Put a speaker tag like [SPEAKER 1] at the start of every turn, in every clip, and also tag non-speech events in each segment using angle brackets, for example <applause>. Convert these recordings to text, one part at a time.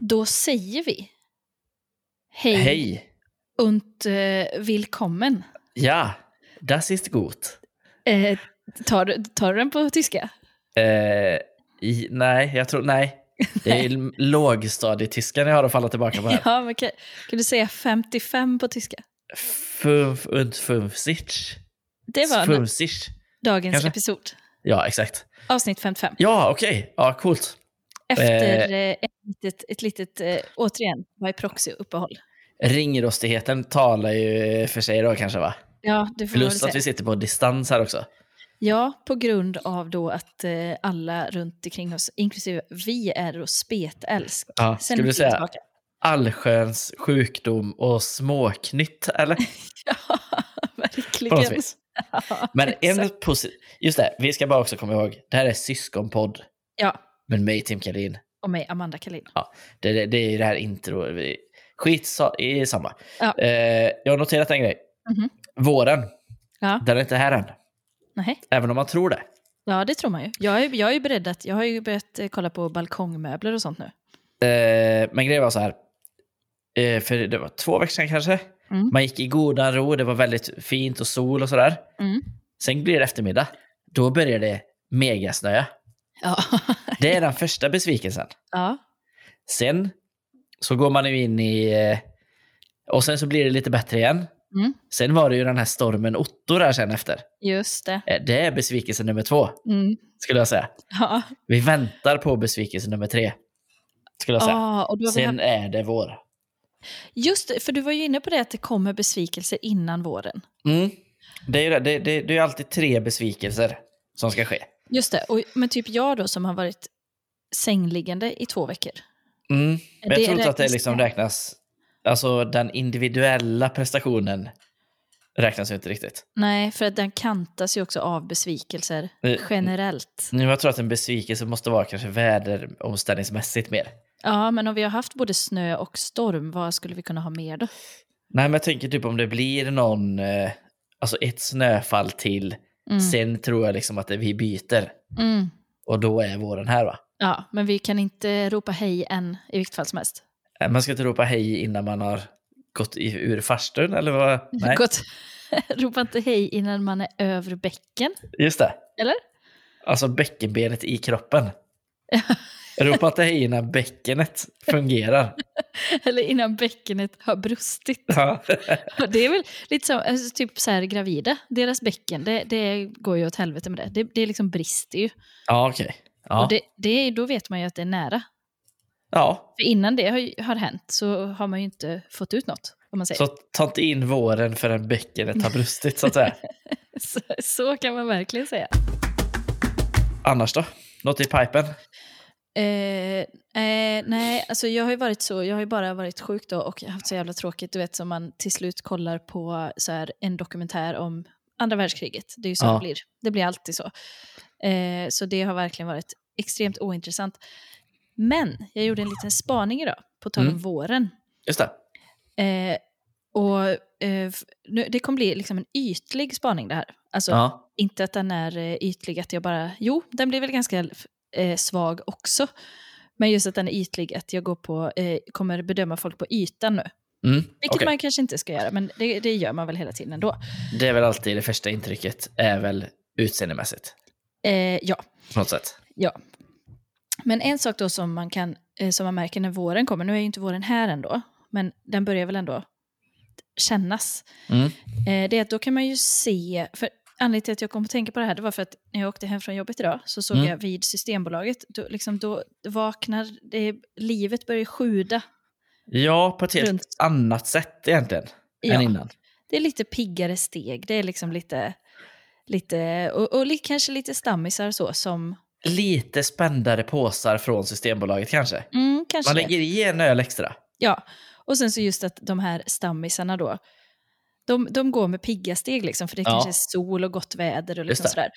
[SPEAKER 1] då säger vi hej,
[SPEAKER 2] Hey.
[SPEAKER 1] und eh, willkommen.
[SPEAKER 2] Ja, das ist gut.
[SPEAKER 1] Eh, tar, du- tar du den på tyska?
[SPEAKER 2] Eh, i, nej, jag tror... Nej. Det är <laughs> lågstadietyska jag har att falla tillbaka på här.
[SPEAKER 1] Ja, men okej. Kan du säga 55 på tyska?
[SPEAKER 2] Fünf und fünfzig.
[SPEAKER 1] Det var nu-
[SPEAKER 2] Fünfzig.
[SPEAKER 1] dagens
[SPEAKER 2] kanske.
[SPEAKER 1] episod.
[SPEAKER 2] Ja, exakt.
[SPEAKER 1] Avsnitt 55.
[SPEAKER 2] Ja, okej. Ja, coolt.
[SPEAKER 1] Efter eh, ett litet, ett litet eh, återigen, vad är proxy-uppehåll?
[SPEAKER 2] Ringrostigheten talar ju för sig då kanske, va?
[SPEAKER 1] Ja, det får man väl
[SPEAKER 2] Plus att
[SPEAKER 1] säga.
[SPEAKER 2] vi sitter på distans här också.
[SPEAKER 1] Ja, på grund av då att eh, alla runt omkring oss, inklusive vi, är då spetälsk.
[SPEAKER 2] Ja,
[SPEAKER 1] Sen
[SPEAKER 2] skulle
[SPEAKER 1] är
[SPEAKER 2] du
[SPEAKER 1] vi
[SPEAKER 2] säga
[SPEAKER 1] tillbaka. <laughs>
[SPEAKER 2] allsköns sjukdom och småknytt, eller?
[SPEAKER 1] Ja,
[SPEAKER 2] På något
[SPEAKER 1] verkligen.
[SPEAKER 2] <laughs> vis. Men en
[SPEAKER 1] Exakt.
[SPEAKER 2] positiv... Just det, vi ska bara också komma ihåg, det här är syskonpodd
[SPEAKER 1] Ja,
[SPEAKER 2] med mig, Tim Karin.
[SPEAKER 1] och mig, Amanda Kalin.
[SPEAKER 2] Det, det, det är ju det här intro. vi- Skit sa- i samma.
[SPEAKER 1] Ja.
[SPEAKER 2] Eh, jag har noterat en grej.
[SPEAKER 1] Mhm.
[SPEAKER 2] Våren,
[SPEAKER 1] Ja.
[SPEAKER 2] den är inte här än.
[SPEAKER 1] Nej.
[SPEAKER 2] Även om man tror det.
[SPEAKER 1] Ja, det tror man ju. Jag är, jag är ju beredd att, jag har ju börjat eh, kolla på balkongmöbler och sånt nu.
[SPEAKER 2] Eh, men grejen var så här. Eh, för det var två veckor sedan kanske.
[SPEAKER 1] Mm.
[SPEAKER 2] Man gick i godan ro, det var väldigt fint och sol och sådär.
[SPEAKER 1] Mm.
[SPEAKER 2] Sen blir det eftermiddag. Då börjar det megasnöa.
[SPEAKER 1] Ja.
[SPEAKER 2] Det är den första besvikelsen.
[SPEAKER 1] ja.
[SPEAKER 2] Sen så går man ju in i... eh, Och sen så blir det lite bättre igen.
[SPEAKER 1] Mm.
[SPEAKER 2] Sen var det ju den här stormen Otto där sen efter.
[SPEAKER 1] Just det.
[SPEAKER 2] Eh, Det är besvikelse nummer två,
[SPEAKER 1] Mm.
[SPEAKER 2] skulle jag säga.
[SPEAKER 1] Ja.
[SPEAKER 2] Vi väntar på besvikelse nummer tre, skulle jag säga.
[SPEAKER 1] Ah, och då har vi haft-
[SPEAKER 2] Sen är det vår.
[SPEAKER 1] Just det, för du var ju inne på det att det kommer besvikelser innan våren.
[SPEAKER 2] Mm. Det är ju det. Det, det, det är ju alltid tre besvikelser som ska ske.
[SPEAKER 1] Just det, och, men typ jag då som har varit sängliggande i två veckor.
[SPEAKER 2] Mm. Men jag
[SPEAKER 1] Det
[SPEAKER 2] tror inte att det
[SPEAKER 1] räknas
[SPEAKER 2] liksom
[SPEAKER 1] det?
[SPEAKER 2] räknas... Alltså den individuella prestationen räknas ju inte riktigt.
[SPEAKER 1] Nej, för att den kantas ju också av besvikelser
[SPEAKER 2] Eh,
[SPEAKER 1] generellt.
[SPEAKER 2] Nu, jag tror att en besvikelse måste vara kanske väderomställningsmässigt mer.
[SPEAKER 1] Ja, men om vi har haft både snö och storm, vad skulle vi kunna ha mer då?
[SPEAKER 2] Nej, men jag tänker typ om det blir någon, eh, alltså ett snöfall till,
[SPEAKER 1] Mm.
[SPEAKER 2] sen tror jag liksom att det, vi byter
[SPEAKER 1] Mm.
[SPEAKER 2] och då är våren här va?
[SPEAKER 1] Ja, men vi kan inte ropa hej än i vilket fall som helst.
[SPEAKER 2] Eh, Man ska inte ropa hej innan man har gått i- ur farstun eller vad?
[SPEAKER 1] <laughs>
[SPEAKER 2] Nej,
[SPEAKER 1] Gott. ropa inte hej innan man är över bäcken. <laughs>
[SPEAKER 2] just det.
[SPEAKER 1] Eller?
[SPEAKER 2] Alltså bäckenbenet
[SPEAKER 1] <laughs>
[SPEAKER 2] i kroppen. Ropa inte hej innan bäckenet
[SPEAKER 1] <laughs>
[SPEAKER 2] fungerar.
[SPEAKER 1] Eller innan bäckenet har
[SPEAKER 2] <laughs>
[SPEAKER 1] brustit.
[SPEAKER 2] Ja.
[SPEAKER 1] Och Det är väl lite som alltså, typ så här, gravida, deras bäcken, det, det går ju åt helvete med det. Det, det liksom brister ju.
[SPEAKER 2] Ja, okej. Ja.
[SPEAKER 1] Och det, det, är- då vet man ju att det är nära.
[SPEAKER 2] ja,
[SPEAKER 1] För innan det har, ju- har hänt så har man ju inte fått ut något. Om man säger.
[SPEAKER 2] så ta inte in våren förrän bäckenet har brustit så att säga.
[SPEAKER 1] <laughs> Så, så kan man verkligen säga.
[SPEAKER 2] Annars då? Något i pipen?
[SPEAKER 1] Eh, eh, nej, alltså jag har ju varit så, jag har ju bara varit sjuk då och jag har haft så jävla tråkigt, du vet som man till slut kollar på så här, en dokumentär om andra världskriget. Det är ju så
[SPEAKER 2] Ja.
[SPEAKER 1] det blir, det blir alltid så. Eh, så det har verkligen varit extremt ointressant. Men jag gjorde en liten spaning idag, på tal om
[SPEAKER 2] Mm.
[SPEAKER 1] våren.
[SPEAKER 2] Just det.
[SPEAKER 1] Eh, och eh, f- nu, det kommer bli liksom en ytlig spaning det här. Alltså
[SPEAKER 2] Ja.
[SPEAKER 1] inte att den är eh, ytlig, att jag bara, jo, den blir väl ganska eh, svag också. Men just att den är ytlig, att jag går på, eh, kommer bedöma folk på ytan nu.
[SPEAKER 2] Mm.
[SPEAKER 1] Vilket
[SPEAKER 2] okej.
[SPEAKER 1] man kanske inte ska göra, men det, det gör man väl hela tiden ändå.
[SPEAKER 2] Det är väl alltid det första intrycket är väl utseendemässigt.
[SPEAKER 1] Eh, ja,
[SPEAKER 2] På något sätt.
[SPEAKER 1] men en sak då som man, kan, eh, som man märker när våren kommer, nu är ju inte våren här ändå, men den börjar väl ändå kännas.
[SPEAKER 2] Mm.
[SPEAKER 1] Eh, det är att då kan man ju se, för anledningen till att jag kom att tänka på det här, det var för att när jag åkte hem från jobbet idag så såg
[SPEAKER 2] Mm.
[SPEAKER 1] jag vid Systembolaget, då, liksom, då vaknar, det, livet börjar sjuda.
[SPEAKER 2] Ja, på ett helt
[SPEAKER 1] Runt.
[SPEAKER 2] annat sätt egentligen. Än
[SPEAKER 1] Ja,
[SPEAKER 2] innan.
[SPEAKER 1] det är lite piggare steg, det är liksom lite, lite och, och li, kanske lite stammisar så som,
[SPEAKER 2] Lite spändare påsar från Systembolaget kanske.
[SPEAKER 1] mm, kanske
[SPEAKER 2] Man
[SPEAKER 1] det.
[SPEAKER 2] lägger i en öl extra.
[SPEAKER 1] Ja, och sen så just att de här stammisarna då, de, de går med pigga steg liksom, för det
[SPEAKER 2] Ja.
[SPEAKER 1] kanske är sol och gott väder och liksom
[SPEAKER 2] det.
[SPEAKER 1] sådär.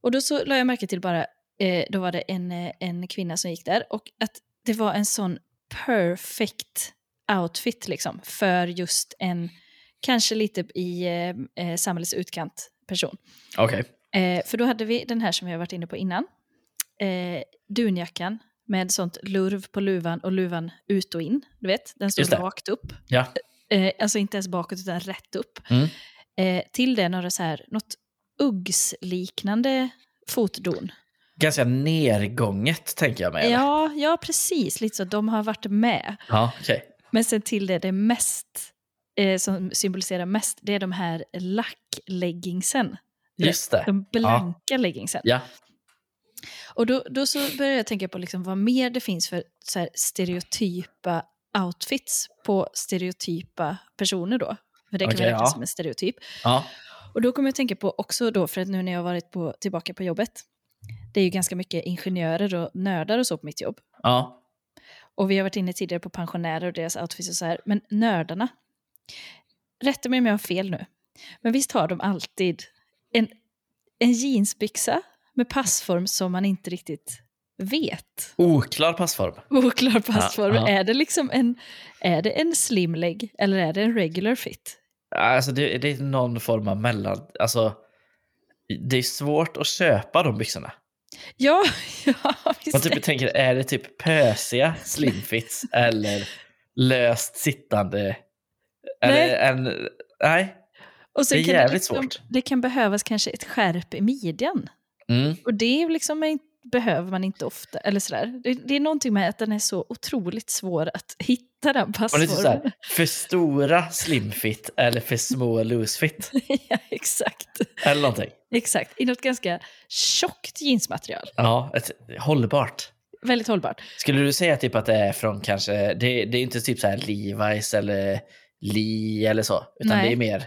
[SPEAKER 1] Och då så la jag märke till bara, eh, då var det en, eh, en kvinna som gick där och att det var en sån perfect outfit liksom för just en, kanske lite i eh, eh, samhällets utkant person.
[SPEAKER 2] Okej.
[SPEAKER 1] Eh, för då hade vi den här som jag varit inne på innan, eh, dunjackan, med sånt lurv på luvan och luvan ut och in. Du vet, den
[SPEAKER 2] Just
[SPEAKER 1] stod
[SPEAKER 2] det.
[SPEAKER 1] rakt upp.
[SPEAKER 2] Ja.
[SPEAKER 1] Eh, alltså inte ens bakåt utan rätt upp.
[SPEAKER 2] Mm.
[SPEAKER 1] Eh, till det några så här, något uggsliknande fotdon.
[SPEAKER 2] Ganska nergånget tänker jag mig. eller?
[SPEAKER 1] Ja, ja, precis. Lite så. De har varit med.
[SPEAKER 2] ja okej.
[SPEAKER 1] Men sen till det, det mest eh, som symboliserar mest, det är de här lackleggingsen.
[SPEAKER 2] Just det.
[SPEAKER 1] De blanka leggingsen.
[SPEAKER 2] Ja.
[SPEAKER 1] Och då, då så började jag tänka på liksom vad mer det finns för så här stereotypa outfits på stereotypa personer då. För det kan
[SPEAKER 2] Okej,
[SPEAKER 1] väl räknas
[SPEAKER 2] ja.
[SPEAKER 1] som en stereotyp.
[SPEAKER 2] Ja.
[SPEAKER 1] Och då kommer jag att tänka på också då, för att nu när jag har varit på, tillbaka på jobbet, det är ju ganska mycket ingenjörer och nördar och så på mitt jobb.
[SPEAKER 2] Ja.
[SPEAKER 1] Och vi har varit inne tidigare på pensionärer och deras outfits och så här, men nördarna, rätta mig om jag har fel nu, men visst har de alltid en, en jeansbyxa med passform som man inte riktigt vet.
[SPEAKER 2] Oklar passform.
[SPEAKER 1] Oklar passform.
[SPEAKER 2] Ja, ja.
[SPEAKER 1] Är det liksom en, är det en slimleg eller är det en regular fit?
[SPEAKER 2] Alltså det, det är någon form av mellan... Alltså, det är svårt att köpa de byxorna.
[SPEAKER 1] Ja, <laughs> ja
[SPEAKER 2] Man
[SPEAKER 1] visst är
[SPEAKER 2] typ tänker, är det typ pösiga slimfits eller löst sittande?
[SPEAKER 1] Nej.
[SPEAKER 2] Eller en, nej.
[SPEAKER 1] Och sen
[SPEAKER 2] Det är
[SPEAKER 1] kan
[SPEAKER 2] jävligt
[SPEAKER 1] liksom,
[SPEAKER 2] svårt.
[SPEAKER 1] Det kan behövas kanske ett skärp i midjan.
[SPEAKER 2] Mm.
[SPEAKER 1] Och det är liksom en- behöver man inte ofta. Eller sådär. Det, det är någonting med att den är så otroligt svår att hitta den
[SPEAKER 2] Och det är typ så
[SPEAKER 1] passformen.
[SPEAKER 2] här, för stora slimfit eller för små loosefit.
[SPEAKER 1] <laughs> ja, exakt.
[SPEAKER 2] Eller någonting.
[SPEAKER 1] exakt. I något ganska tjockt jeansmaterial.
[SPEAKER 2] Ja, ett, hållbart.
[SPEAKER 1] Väldigt hållbart.
[SPEAKER 2] Skulle du säga typ att det är från kanske, det, det är inte typ så här Levi's eller Lee eller så, utan
[SPEAKER 1] Nej.
[SPEAKER 2] det är mer,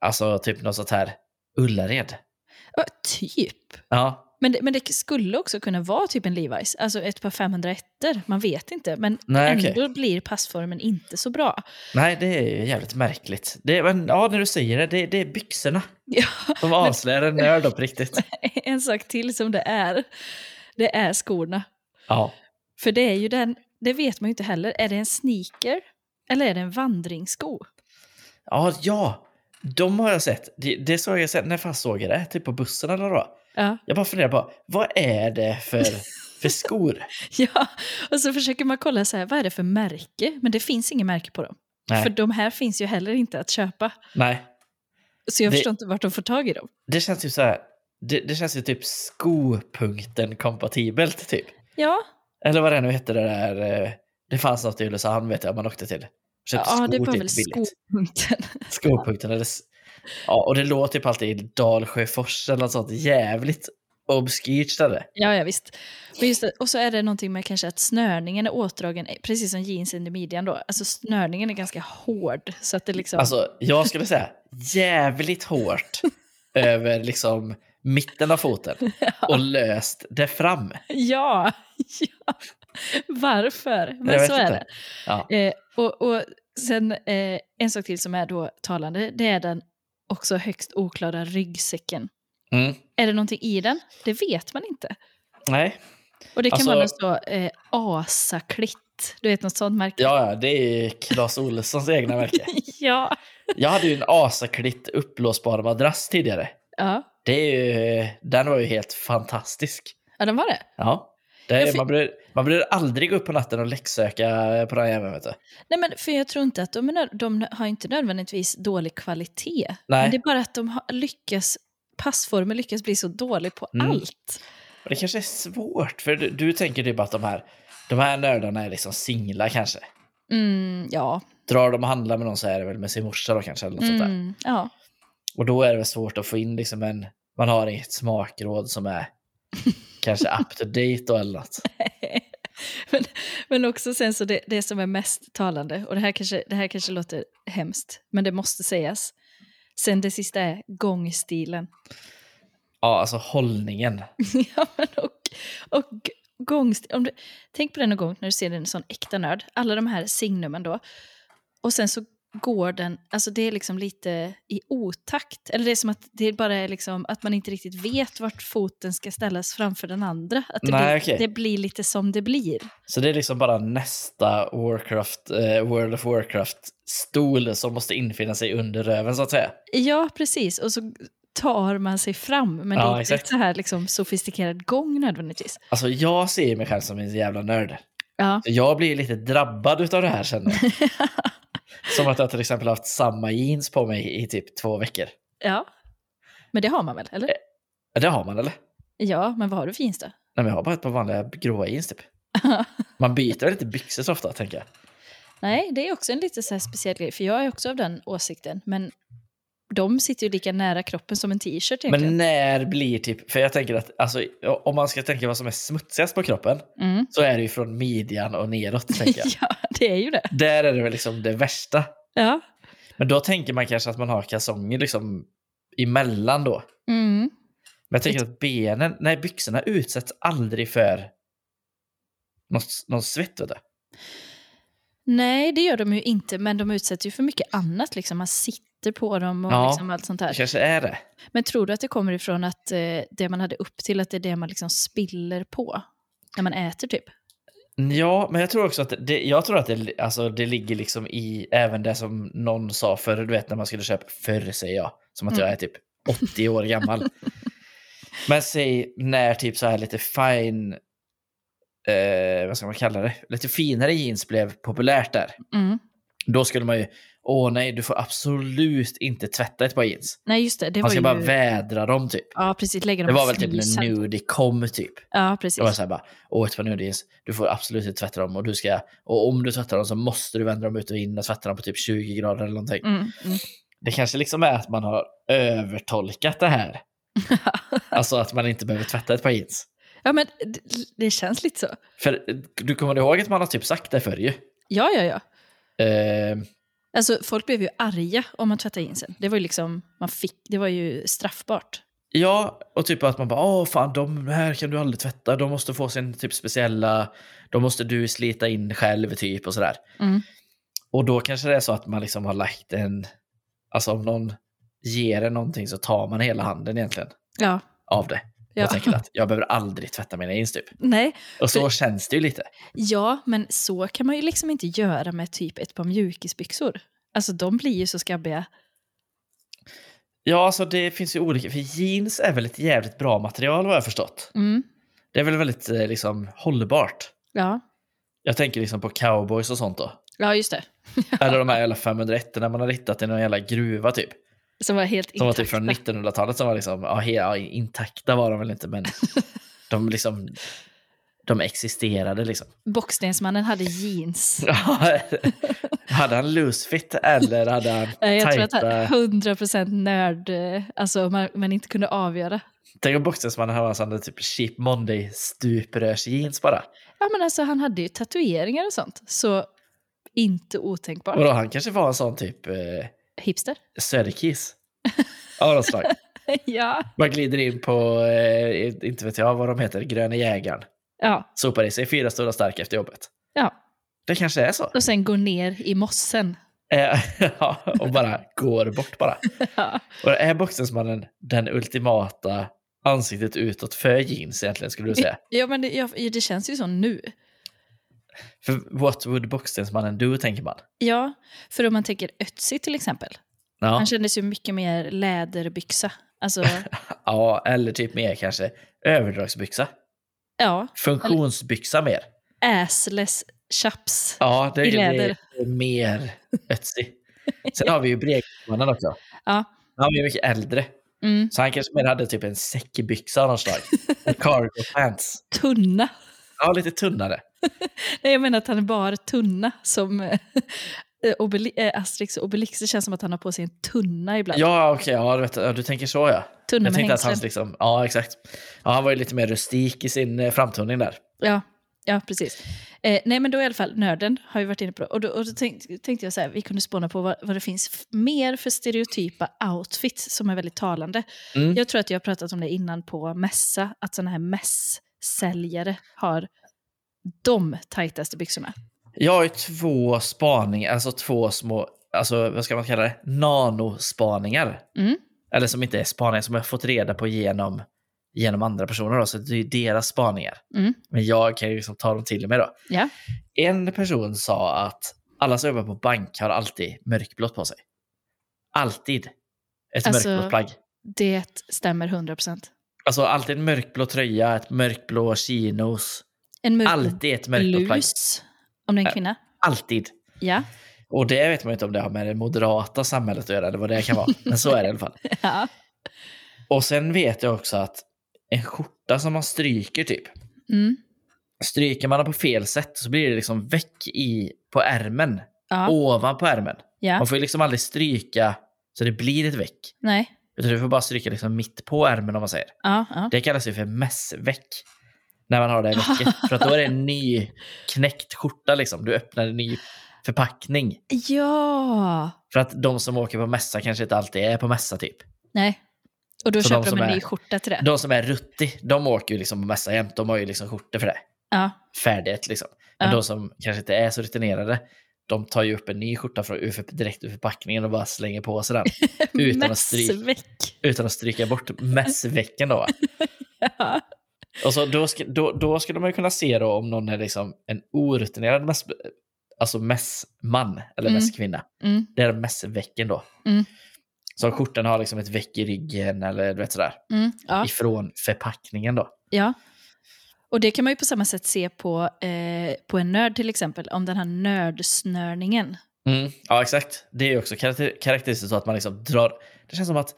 [SPEAKER 2] alltså typ något sånt här Ullared.
[SPEAKER 1] Ja, typ.
[SPEAKER 2] Ja,
[SPEAKER 1] Men det, men det skulle också kunna vara typ en Levi's, alltså ett par 501 Man vet inte, men
[SPEAKER 2] nej Ah, okej.
[SPEAKER 1] ändå blir passformen inte så bra. <laughs>
[SPEAKER 2] Nej, det är ju jävligt märkligt. Det, men ja, när du säger det, det, det är byxorna
[SPEAKER 1] Ja,
[SPEAKER 2] som avslöjar en nörd då på
[SPEAKER 1] <laughs>
[SPEAKER 2] riktigt.
[SPEAKER 1] en sak till som det är, det är skorna.
[SPEAKER 2] Ja,
[SPEAKER 1] För det är ju den, det vet man ju inte heller. Är det en sneaker eller är det en vandringssko?
[SPEAKER 2] ja, ja. De har jag sett. Det, det såg jag sen, när fan såg jag det? Typ på bussen eller då?
[SPEAKER 1] Ja.
[SPEAKER 2] Jag bara funderar på, vad är det för, för skor?
[SPEAKER 1] <laughs> ja, och så försöker man kolla så här, vad är det för märke? Men det finns inget märke på dem. <laughs>
[SPEAKER 2] Nej,
[SPEAKER 1] För de här finns ju heller inte att köpa.
[SPEAKER 2] nej.
[SPEAKER 1] Så jag
[SPEAKER 2] Det-
[SPEAKER 1] förstår inte vart de får tag i dem.
[SPEAKER 2] Det känns ju så här, det, det känns ju typ skopunkten kompatibelt typ.
[SPEAKER 1] Ja,
[SPEAKER 2] Eller vad det nu hette det där, eh, det fanns något i Ulricehamn vet jag man åkte till. Köpte
[SPEAKER 1] ja
[SPEAKER 2] skor
[SPEAKER 1] det var
[SPEAKER 2] typ
[SPEAKER 1] väl
[SPEAKER 2] billigt.
[SPEAKER 1] skopunkten.
[SPEAKER 2] Skopunkten. Eller... s- Ja, och det låter typ alltid i Dalsjöfors eller något sånt jävligt obskyrt ställe.
[SPEAKER 1] Ja, ja visst. Men just det, och så är det någonting med kanske att snörningen är åtdragen, eh, precis som jeans under midjan då. Alltså snörningen är ganska hård. Så att det liksom,
[SPEAKER 2] Alltså, jag skulle säga jävligt hårt över liksom mitten av foten och löst det fram.
[SPEAKER 1] <laughs> ja, <laughs> ja, varför? Men
[SPEAKER 2] Jag vet
[SPEAKER 1] så är
[SPEAKER 2] inte.
[SPEAKER 1] det.
[SPEAKER 2] Ja.
[SPEAKER 1] Eh, och, och sen eh, en sak till som är då talande, det är den också högst oklara ryggsäcken.
[SPEAKER 2] Mm.
[SPEAKER 1] Är det någonting i den? Det vet man inte.
[SPEAKER 2] Nej,
[SPEAKER 1] Och det kan
[SPEAKER 2] Alltså-
[SPEAKER 1] vara något så eh, asaklitt, du vet något sånt märke.
[SPEAKER 2] ja, ja, det är Clas Olssons egna märke.
[SPEAKER 1] <laughs> ja.
[SPEAKER 2] Jag hade ju en asaklitt uppblåsbar madrass tidigare.
[SPEAKER 1] ja.
[SPEAKER 2] Det är ju, den var ju helt fantastisk.
[SPEAKER 1] Ja, den var det.
[SPEAKER 2] Ja. Det är,
[SPEAKER 1] Jag fick-
[SPEAKER 2] man, blir, man blir aldrig gå upp på natten och läxsöka på den här jäveln, vet du.
[SPEAKER 1] Nej, men för jag tror inte att de, är nöd- de har inte nödvändigtvis dålig kvalitet.
[SPEAKER 2] Nej.
[SPEAKER 1] Men det är bara att de har lyckas, passformen lyckas bli så dålig på
[SPEAKER 2] Mm.
[SPEAKER 1] allt.
[SPEAKER 2] Och Det kanske är svårt, för du, du tänker typ att de här, de här nördarna är liksom singlar kanske.
[SPEAKER 1] Mm, ja.
[SPEAKER 2] Drar de och handlar med någon så är det väl med sin morsa då kanske. Eller något sånt där.
[SPEAKER 1] Mm, ja.
[SPEAKER 2] Och då är det väl svårt att få in liksom en, man har inget smakråd som är kanske up to date då eller något.
[SPEAKER 1] men, men också sen så det, det som är mest talande, och det här, kanske, det här kanske låter hemskt, men det måste sägas. Sen det sista är gångstilen.
[SPEAKER 2] Ja, alltså hållningen.
[SPEAKER 1] <laughs> ja, men och, och gångstil. Om du, tänk på den någon gång när du ser en sån äkta nörd. Alla de här signumen då. Och sen så går den, alltså det är liksom lite i otakt. Eller det är som att det bara är liksom att man inte riktigt vet vart foten ska ställas framför den andra. Att det,
[SPEAKER 2] Nej,
[SPEAKER 1] blir,
[SPEAKER 2] okej.
[SPEAKER 1] det blir lite som det blir.
[SPEAKER 2] Så det är liksom bara Nästa Warcraft, eh, World of Warcraft-stol som måste infinna sig under röven så att säga.
[SPEAKER 1] Ja, precis. Och så tar man sig fram, men det
[SPEAKER 2] Ja,
[SPEAKER 1] är inte
[SPEAKER 2] exakt.
[SPEAKER 1] ett så här liksom, sofistikerad gång nödvändigtvis.
[SPEAKER 2] Alltså jag ser mig själv som en jävla nörd.
[SPEAKER 1] Ja,
[SPEAKER 2] Jag blir lite drabbad av det här känner jag. Som att jag till exempel haft samma jeans på mig i typ två veckor.
[SPEAKER 1] ja. Men det har man väl,
[SPEAKER 2] Eh.
[SPEAKER 1] eller?
[SPEAKER 2] Ja, Det har man eller?
[SPEAKER 1] Ja, men vad har du för jeans då?
[SPEAKER 2] Nej men jag har bara ett par vanliga gråa jeans typ. Man byter väl inte byxor så ofta tänker jag.
[SPEAKER 1] Nej, det är också en lite så här speciell grej, för jag är också av den åsikten. Men de sitter ju lika nära kroppen som en t-shirt egentligen.
[SPEAKER 2] Men när blir typ, för jag tänker att alltså, om man ska tänka vad som är smutsigast på kroppen
[SPEAKER 1] Mm.
[SPEAKER 2] så är det ju från midjan och neråt tänker jag.
[SPEAKER 1] <laughs> Ja, det är ju det.
[SPEAKER 2] Där är det väl liksom det värsta.
[SPEAKER 1] Ja.
[SPEAKER 2] Men då tänker man kanske att man har kalsonger liksom emellan då.
[SPEAKER 1] Mm.
[SPEAKER 2] Men jag tänker att benen, nej byxorna utsätts aldrig för någon, någon svett. Vet du.
[SPEAKER 1] Nej, det gör de ju inte, men de utsätts ju för mycket annat. Liksom. Man sitter på dem och
[SPEAKER 2] Ja.
[SPEAKER 1] liksom allt sånt
[SPEAKER 2] Det
[SPEAKER 1] här.
[SPEAKER 2] kanske är det.
[SPEAKER 1] Men tror du att det kommer ifrån att eh, det man hade upp till, att det är det man liksom spiller på när man äter typ?
[SPEAKER 2] Ja, men jag tror också att det, jag tror att det, alltså, det ligger liksom i även det som någon sa förr, du vet när man skulle köpa, förr säger jag, som att
[SPEAKER 1] Mm.
[SPEAKER 2] jag är typ 80
[SPEAKER 1] <laughs>
[SPEAKER 2] år gammal. men säg när typ så här lite fine, eh, vad ska man kalla det, lite finare jeans blev populärt där.
[SPEAKER 1] Mm.
[SPEAKER 2] Då skulle man ju, åh nej, du får absolut inte tvätta ett par jeans.
[SPEAKER 1] Nej, just det. Det
[SPEAKER 2] Man
[SPEAKER 1] var
[SPEAKER 2] ska
[SPEAKER 1] ju...
[SPEAKER 2] bara vädra dem typ.
[SPEAKER 1] Ja, precis. Lägga dem
[SPEAKER 2] Det
[SPEAKER 1] i
[SPEAKER 2] var väl typ när
[SPEAKER 1] frysen.
[SPEAKER 2] nudie kom typ.
[SPEAKER 1] Ja,
[SPEAKER 2] Det var
[SPEAKER 1] precis.
[SPEAKER 2] så här bara, åh ett par nudiejeans, du får absolut inte tvätta dem och du ska, och om du tvättar dem så måste du vända dem ut och in och tvätta dem på typ 20 grader eller någonting.
[SPEAKER 1] Mm. Mm.
[SPEAKER 2] Det kanske liksom är att man har övertolkat det här. alltså att man inte behöver tvätta ett par jeans.
[SPEAKER 1] Ja, men det, det känns lite så.
[SPEAKER 2] För eh, du kommer ihåg att man har typ sagt det förr ju.
[SPEAKER 1] Ja, ja, ja.
[SPEAKER 2] Eh,
[SPEAKER 1] Alltså, folk blev ju arga om man tvättade jeansen. Det var ju liksom, man fick, det var ju straffbart.
[SPEAKER 2] ja, och typ att man bara, åh fan de här kan du aldrig tvätta, de måste få sin typ speciella, de måste du slita in själv typ och sådär.
[SPEAKER 1] Mm.
[SPEAKER 2] Och då kanske det är så att man liksom har lagt en... Alltså om någon ger en någonting så tar man hela handen egentligen
[SPEAKER 1] Ja.
[SPEAKER 2] av det.
[SPEAKER 1] ja.
[SPEAKER 2] Och tänker att jag behöver aldrig tvätta mina jeans typ.
[SPEAKER 1] <laughs> Nej,
[SPEAKER 2] Och så känns det ju lite.
[SPEAKER 1] ja, men så kan man ju liksom inte göra med typ ett par mjukisbyxor. Alltså, de blir ju så skabbiga.
[SPEAKER 2] Ja, alltså det finns ju olika. För jeans är väl ett jävligt bra material vad jag har förstått.
[SPEAKER 1] Mm.
[SPEAKER 2] Det är väl väldigt eh, liksom hållbart.
[SPEAKER 1] Ja.
[SPEAKER 2] Jag tänker liksom på cowboys och sånt då.
[SPEAKER 1] ja, just det.
[SPEAKER 2] Eller de här jävla 501 när man har hittat i någon jävla gruva typ.
[SPEAKER 1] Som var helt
[SPEAKER 2] Som var
[SPEAKER 1] intakta.
[SPEAKER 2] typ från 1900-talet som var liksom, ja, he- ja, intakta var de väl inte men de liksom, de existerade liksom. <laughs>
[SPEAKER 1] Bockstensmannen hade jeans.
[SPEAKER 2] Ja, hade han loose fit eller hade han
[SPEAKER 1] Nej, Jag tror
[SPEAKER 2] tajta...
[SPEAKER 1] att han är 100% nörd, eh, alltså man, man inte kunde avgöra.
[SPEAKER 2] Tänk om boxningsmannen hade en sån där typ cheap monday stuprörsjeans bara.
[SPEAKER 1] Ja, men alltså han hade ju tatueringar och sånt, så inte otänkbart.
[SPEAKER 2] Och då han kanske var en sån typ eh,
[SPEAKER 1] Hipster? <laughs>
[SPEAKER 2] söderkis. Av något slag.
[SPEAKER 1] ja.
[SPEAKER 2] Man glider in på, eh, inte vet jag vad de heter, gröna jägaren.
[SPEAKER 1] ja.
[SPEAKER 2] Sopar i sig fyra stora stark efter jobbet.
[SPEAKER 1] Ja.
[SPEAKER 2] Det kanske är så.
[SPEAKER 1] Och sen gå ner i mossen.
[SPEAKER 2] Eh, <laughs> ja, och bara går bort bara.
[SPEAKER 1] <laughs> Ja.
[SPEAKER 2] Och är boxningsmannen den ultimata ansiktet utåt för jeans egentligen skulle du
[SPEAKER 1] <laughs>
[SPEAKER 2] säga?
[SPEAKER 1] Ja, men det, ja, det känns ju så nu.
[SPEAKER 2] För what would boxningsmannen do tänker man.
[SPEAKER 1] Ja, för om man tänker Ötzi till exempel.
[SPEAKER 2] Ja.
[SPEAKER 1] Han kändes ju mycket mer läderbyxa.
[SPEAKER 2] <laughs>
[SPEAKER 1] Alltså,
[SPEAKER 2] ja, eller typ mer kanske överdragsbyxa.
[SPEAKER 1] ja,
[SPEAKER 2] Funktionsbyxa mer.
[SPEAKER 1] assless chaps.
[SPEAKER 2] Ja, det
[SPEAKER 1] I
[SPEAKER 2] är
[SPEAKER 1] läder.
[SPEAKER 2] det är mer
[SPEAKER 1] <laughs>
[SPEAKER 2] ötsig. Sen har vi ju Brekmannen också.
[SPEAKER 1] Ja.
[SPEAKER 2] Han var ju mycket äldre,
[SPEAKER 1] Mm.
[SPEAKER 2] så han kanske mer hade typ en säckbyxa av
[SPEAKER 1] <laughs>
[SPEAKER 2] något slag. Och cargo pants.
[SPEAKER 1] Tunna.
[SPEAKER 2] Ja, lite tunnare.
[SPEAKER 1] Nej, jag menar att han är bara tunna som eh, Obeli- eh, Asterix och Obelix. Det känns som att han har på sig en tunna ibland.
[SPEAKER 2] Ja, okej, ja, du, vet, ja, du tänker så ja.
[SPEAKER 1] tunna
[SPEAKER 2] Jag
[SPEAKER 1] med
[SPEAKER 2] tänkte att han
[SPEAKER 1] hängslen.
[SPEAKER 2] liksom, ja exakt. Ja, han var ju lite mer rustik i sin eh, framtoning där.
[SPEAKER 1] Ja, ja precis. Eh, nej, men då i alla fall, nörden har vi varit inne på det. Och då, och då tänk, tänkte jag så här, vi kunde spåna på vad, vad det finns f- mer för stereotypa outfits som är väldigt talande.
[SPEAKER 2] Mm.
[SPEAKER 1] Jag tror att jag har pratat om det innan på mässa, att sådana här mässäljare har de tajtaste byxorna.
[SPEAKER 2] Jag har ju två spaningar, alltså två små, alltså vad ska man kalla det, nanospaningar.
[SPEAKER 1] Mm.
[SPEAKER 2] Eller som inte är spaningar, som jag har fått reda på genom, genom andra personer. Då, så det är ju deras spaningar.
[SPEAKER 1] Mm.
[SPEAKER 2] Men jag kan ju liksom ta dem till mig då.
[SPEAKER 1] Ja.
[SPEAKER 2] En person sa att alla som jobbar på bank har alltid mörkblått på sig. Alltid ett
[SPEAKER 1] Alltså-
[SPEAKER 2] mörkblått plagg.
[SPEAKER 1] Det stämmer 100%.
[SPEAKER 2] Alltså alltid en mörkblå tröja, ett mörkblå chinos.
[SPEAKER 1] En mörkblå
[SPEAKER 2] Alltid ett mörkblått plagg.
[SPEAKER 1] blus, om det är en kvinna.
[SPEAKER 2] Alltid. <laughs>
[SPEAKER 1] Ja.
[SPEAKER 2] Och det vet man ju inte om det har med det moderata samhället att göra, eller vad
[SPEAKER 1] <laughs>
[SPEAKER 2] det kan vara. Men så är det i alla fall.
[SPEAKER 1] ja.
[SPEAKER 2] Och sen vet jag också att en skjorta som man stryker typ,
[SPEAKER 1] Mm.
[SPEAKER 2] stryker man den på fel sätt så blir det liksom väck i på ärmen,
[SPEAKER 1] Ja.
[SPEAKER 2] ovanpå ärmen.
[SPEAKER 1] ja.
[SPEAKER 2] Man får ju liksom aldrig stryka så det blir ett väck.
[SPEAKER 1] Nej.
[SPEAKER 2] Utan du får bara stryka liksom mitt på ärmen om man säger.
[SPEAKER 1] Ja. ja.
[SPEAKER 2] Det kallas ju för mässväck. När man har det
[SPEAKER 1] <laughs>
[SPEAKER 2] väcket. För att då är det en ny knäckt skjorta liksom. Du öppnar en ny förpackning.
[SPEAKER 1] Ja.
[SPEAKER 2] För att de som åker på mässa kanske inte alltid är på mässa typ.
[SPEAKER 1] Nej. Och då
[SPEAKER 2] Så de
[SPEAKER 1] köper de,
[SPEAKER 2] som
[SPEAKER 1] en
[SPEAKER 2] är-
[SPEAKER 1] ny skjorta till det.
[SPEAKER 2] De som är rutti, de åker ju liksom på mässa jämt. De har ju liksom skjortor för det.
[SPEAKER 1] Ja.
[SPEAKER 2] Färdigt liksom. Men
[SPEAKER 1] Ja.
[SPEAKER 2] de som kanske inte är så rutinerade, de tar ju upp en ny skjorta från, ur- direkt ur förpackningen och bara slänger på sig den. Utan att stryka.
[SPEAKER 1] Mässväck.
[SPEAKER 2] Utan att stryka bort mässvecken då. va?
[SPEAKER 1] Ja.
[SPEAKER 2] Och så då, ska, då, då skulle man ju kunna se då om någon är liksom en orutinerad mäss, alltså mässman eller
[SPEAKER 1] Mm.
[SPEAKER 2] mässkvinna.
[SPEAKER 1] <laughs> Mm.
[SPEAKER 2] Det är mässvecken då.
[SPEAKER 1] Mm.
[SPEAKER 2] Så om skjortan har liksom ett veck i ryggen eller du vet sådär.
[SPEAKER 1] Mm. Ja.
[SPEAKER 2] Ifrån förpackningen då.
[SPEAKER 1] Ja. Och det kan man ju på samma sätt se på, eh, på en nörd till exempel, om den här nördsnörningen.
[SPEAKER 2] Mm. Ja exakt. Det är ju också karakter- karaktäristiskt så att man liksom drar. Det känns
[SPEAKER 1] <laughs>
[SPEAKER 2] som att